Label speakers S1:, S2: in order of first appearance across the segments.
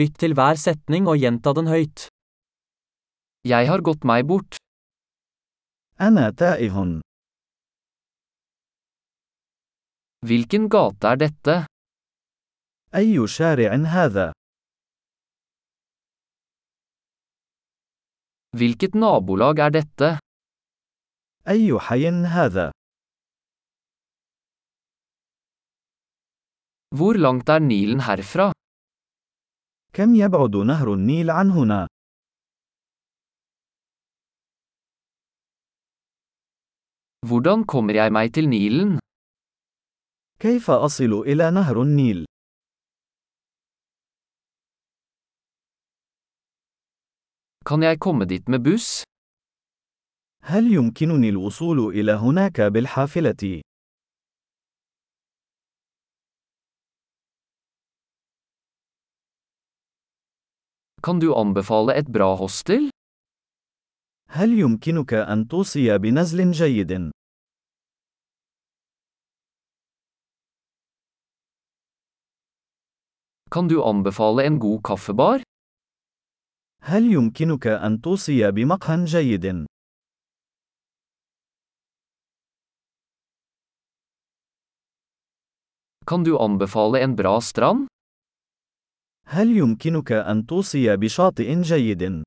S1: Lytt til hver setning og gjenta den høyt. Jeg har gått meg bort.
S2: أنا تائه.
S1: Hvilken gate er dette?
S2: أي شارع هذا؟
S1: Hvilket nabolag er dette?
S2: أي حي هذا؟
S1: Hvor langt er Nilen herfra?
S2: كم يبعد نهر النيل عن هنا؟
S1: Hvordan kommer jeg meg til Nilen?
S2: كيف أصل إلى نهر النيل؟
S1: Kan jeg komme dit med buss?
S2: هل يمكنني الوصول إلى هناك بالحافلة؟
S1: Kan du anbefale et bra hostel?
S2: هل يمكنك أن توصي بنزل جيد؟
S1: Kan du anbefale en god kaffebar?
S2: هل يمكنك أن توصي بمقهى جيد؟
S1: Kan du anbefale en bra strand?
S2: هل يمكنك أن توصي بشاطئ جيد؟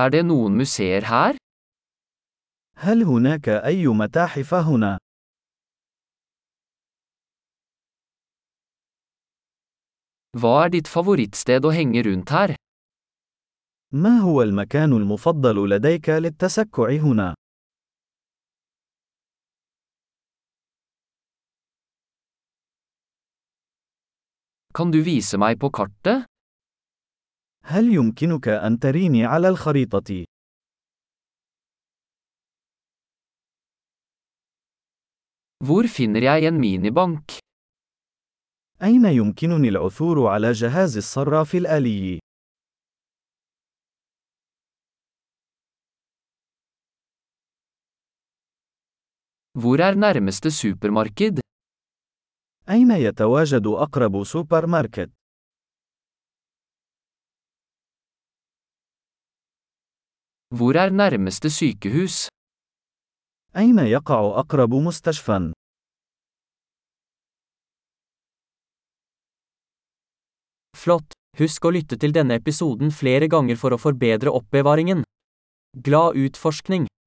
S1: Er det noen museer her?
S2: هل هناك أي متاحف هنا؟
S1: Hva er ditt favorittsted å henge rundt her?
S2: ما هو المكان المفضل لديك للتسكع هنا؟
S1: Kan du vise meg på kartet?
S2: هل يمكنك أن تريني على الخريطة؟
S1: Hvor finner jeg en minibank?
S2: أين يمكنني العثور على جهاز الصراف الآلي؟
S1: Hvor er nærmeste supermarked?
S2: أين يتواجد أقرب سوبر ماركت؟
S1: Hvor er nærmeste sykehus?
S2: أين يقع أقرب مستشفى؟
S1: Flott! Husk å lytte til denne episoden flere ganger for å forbedre oppbevaringen. Glad utforskning!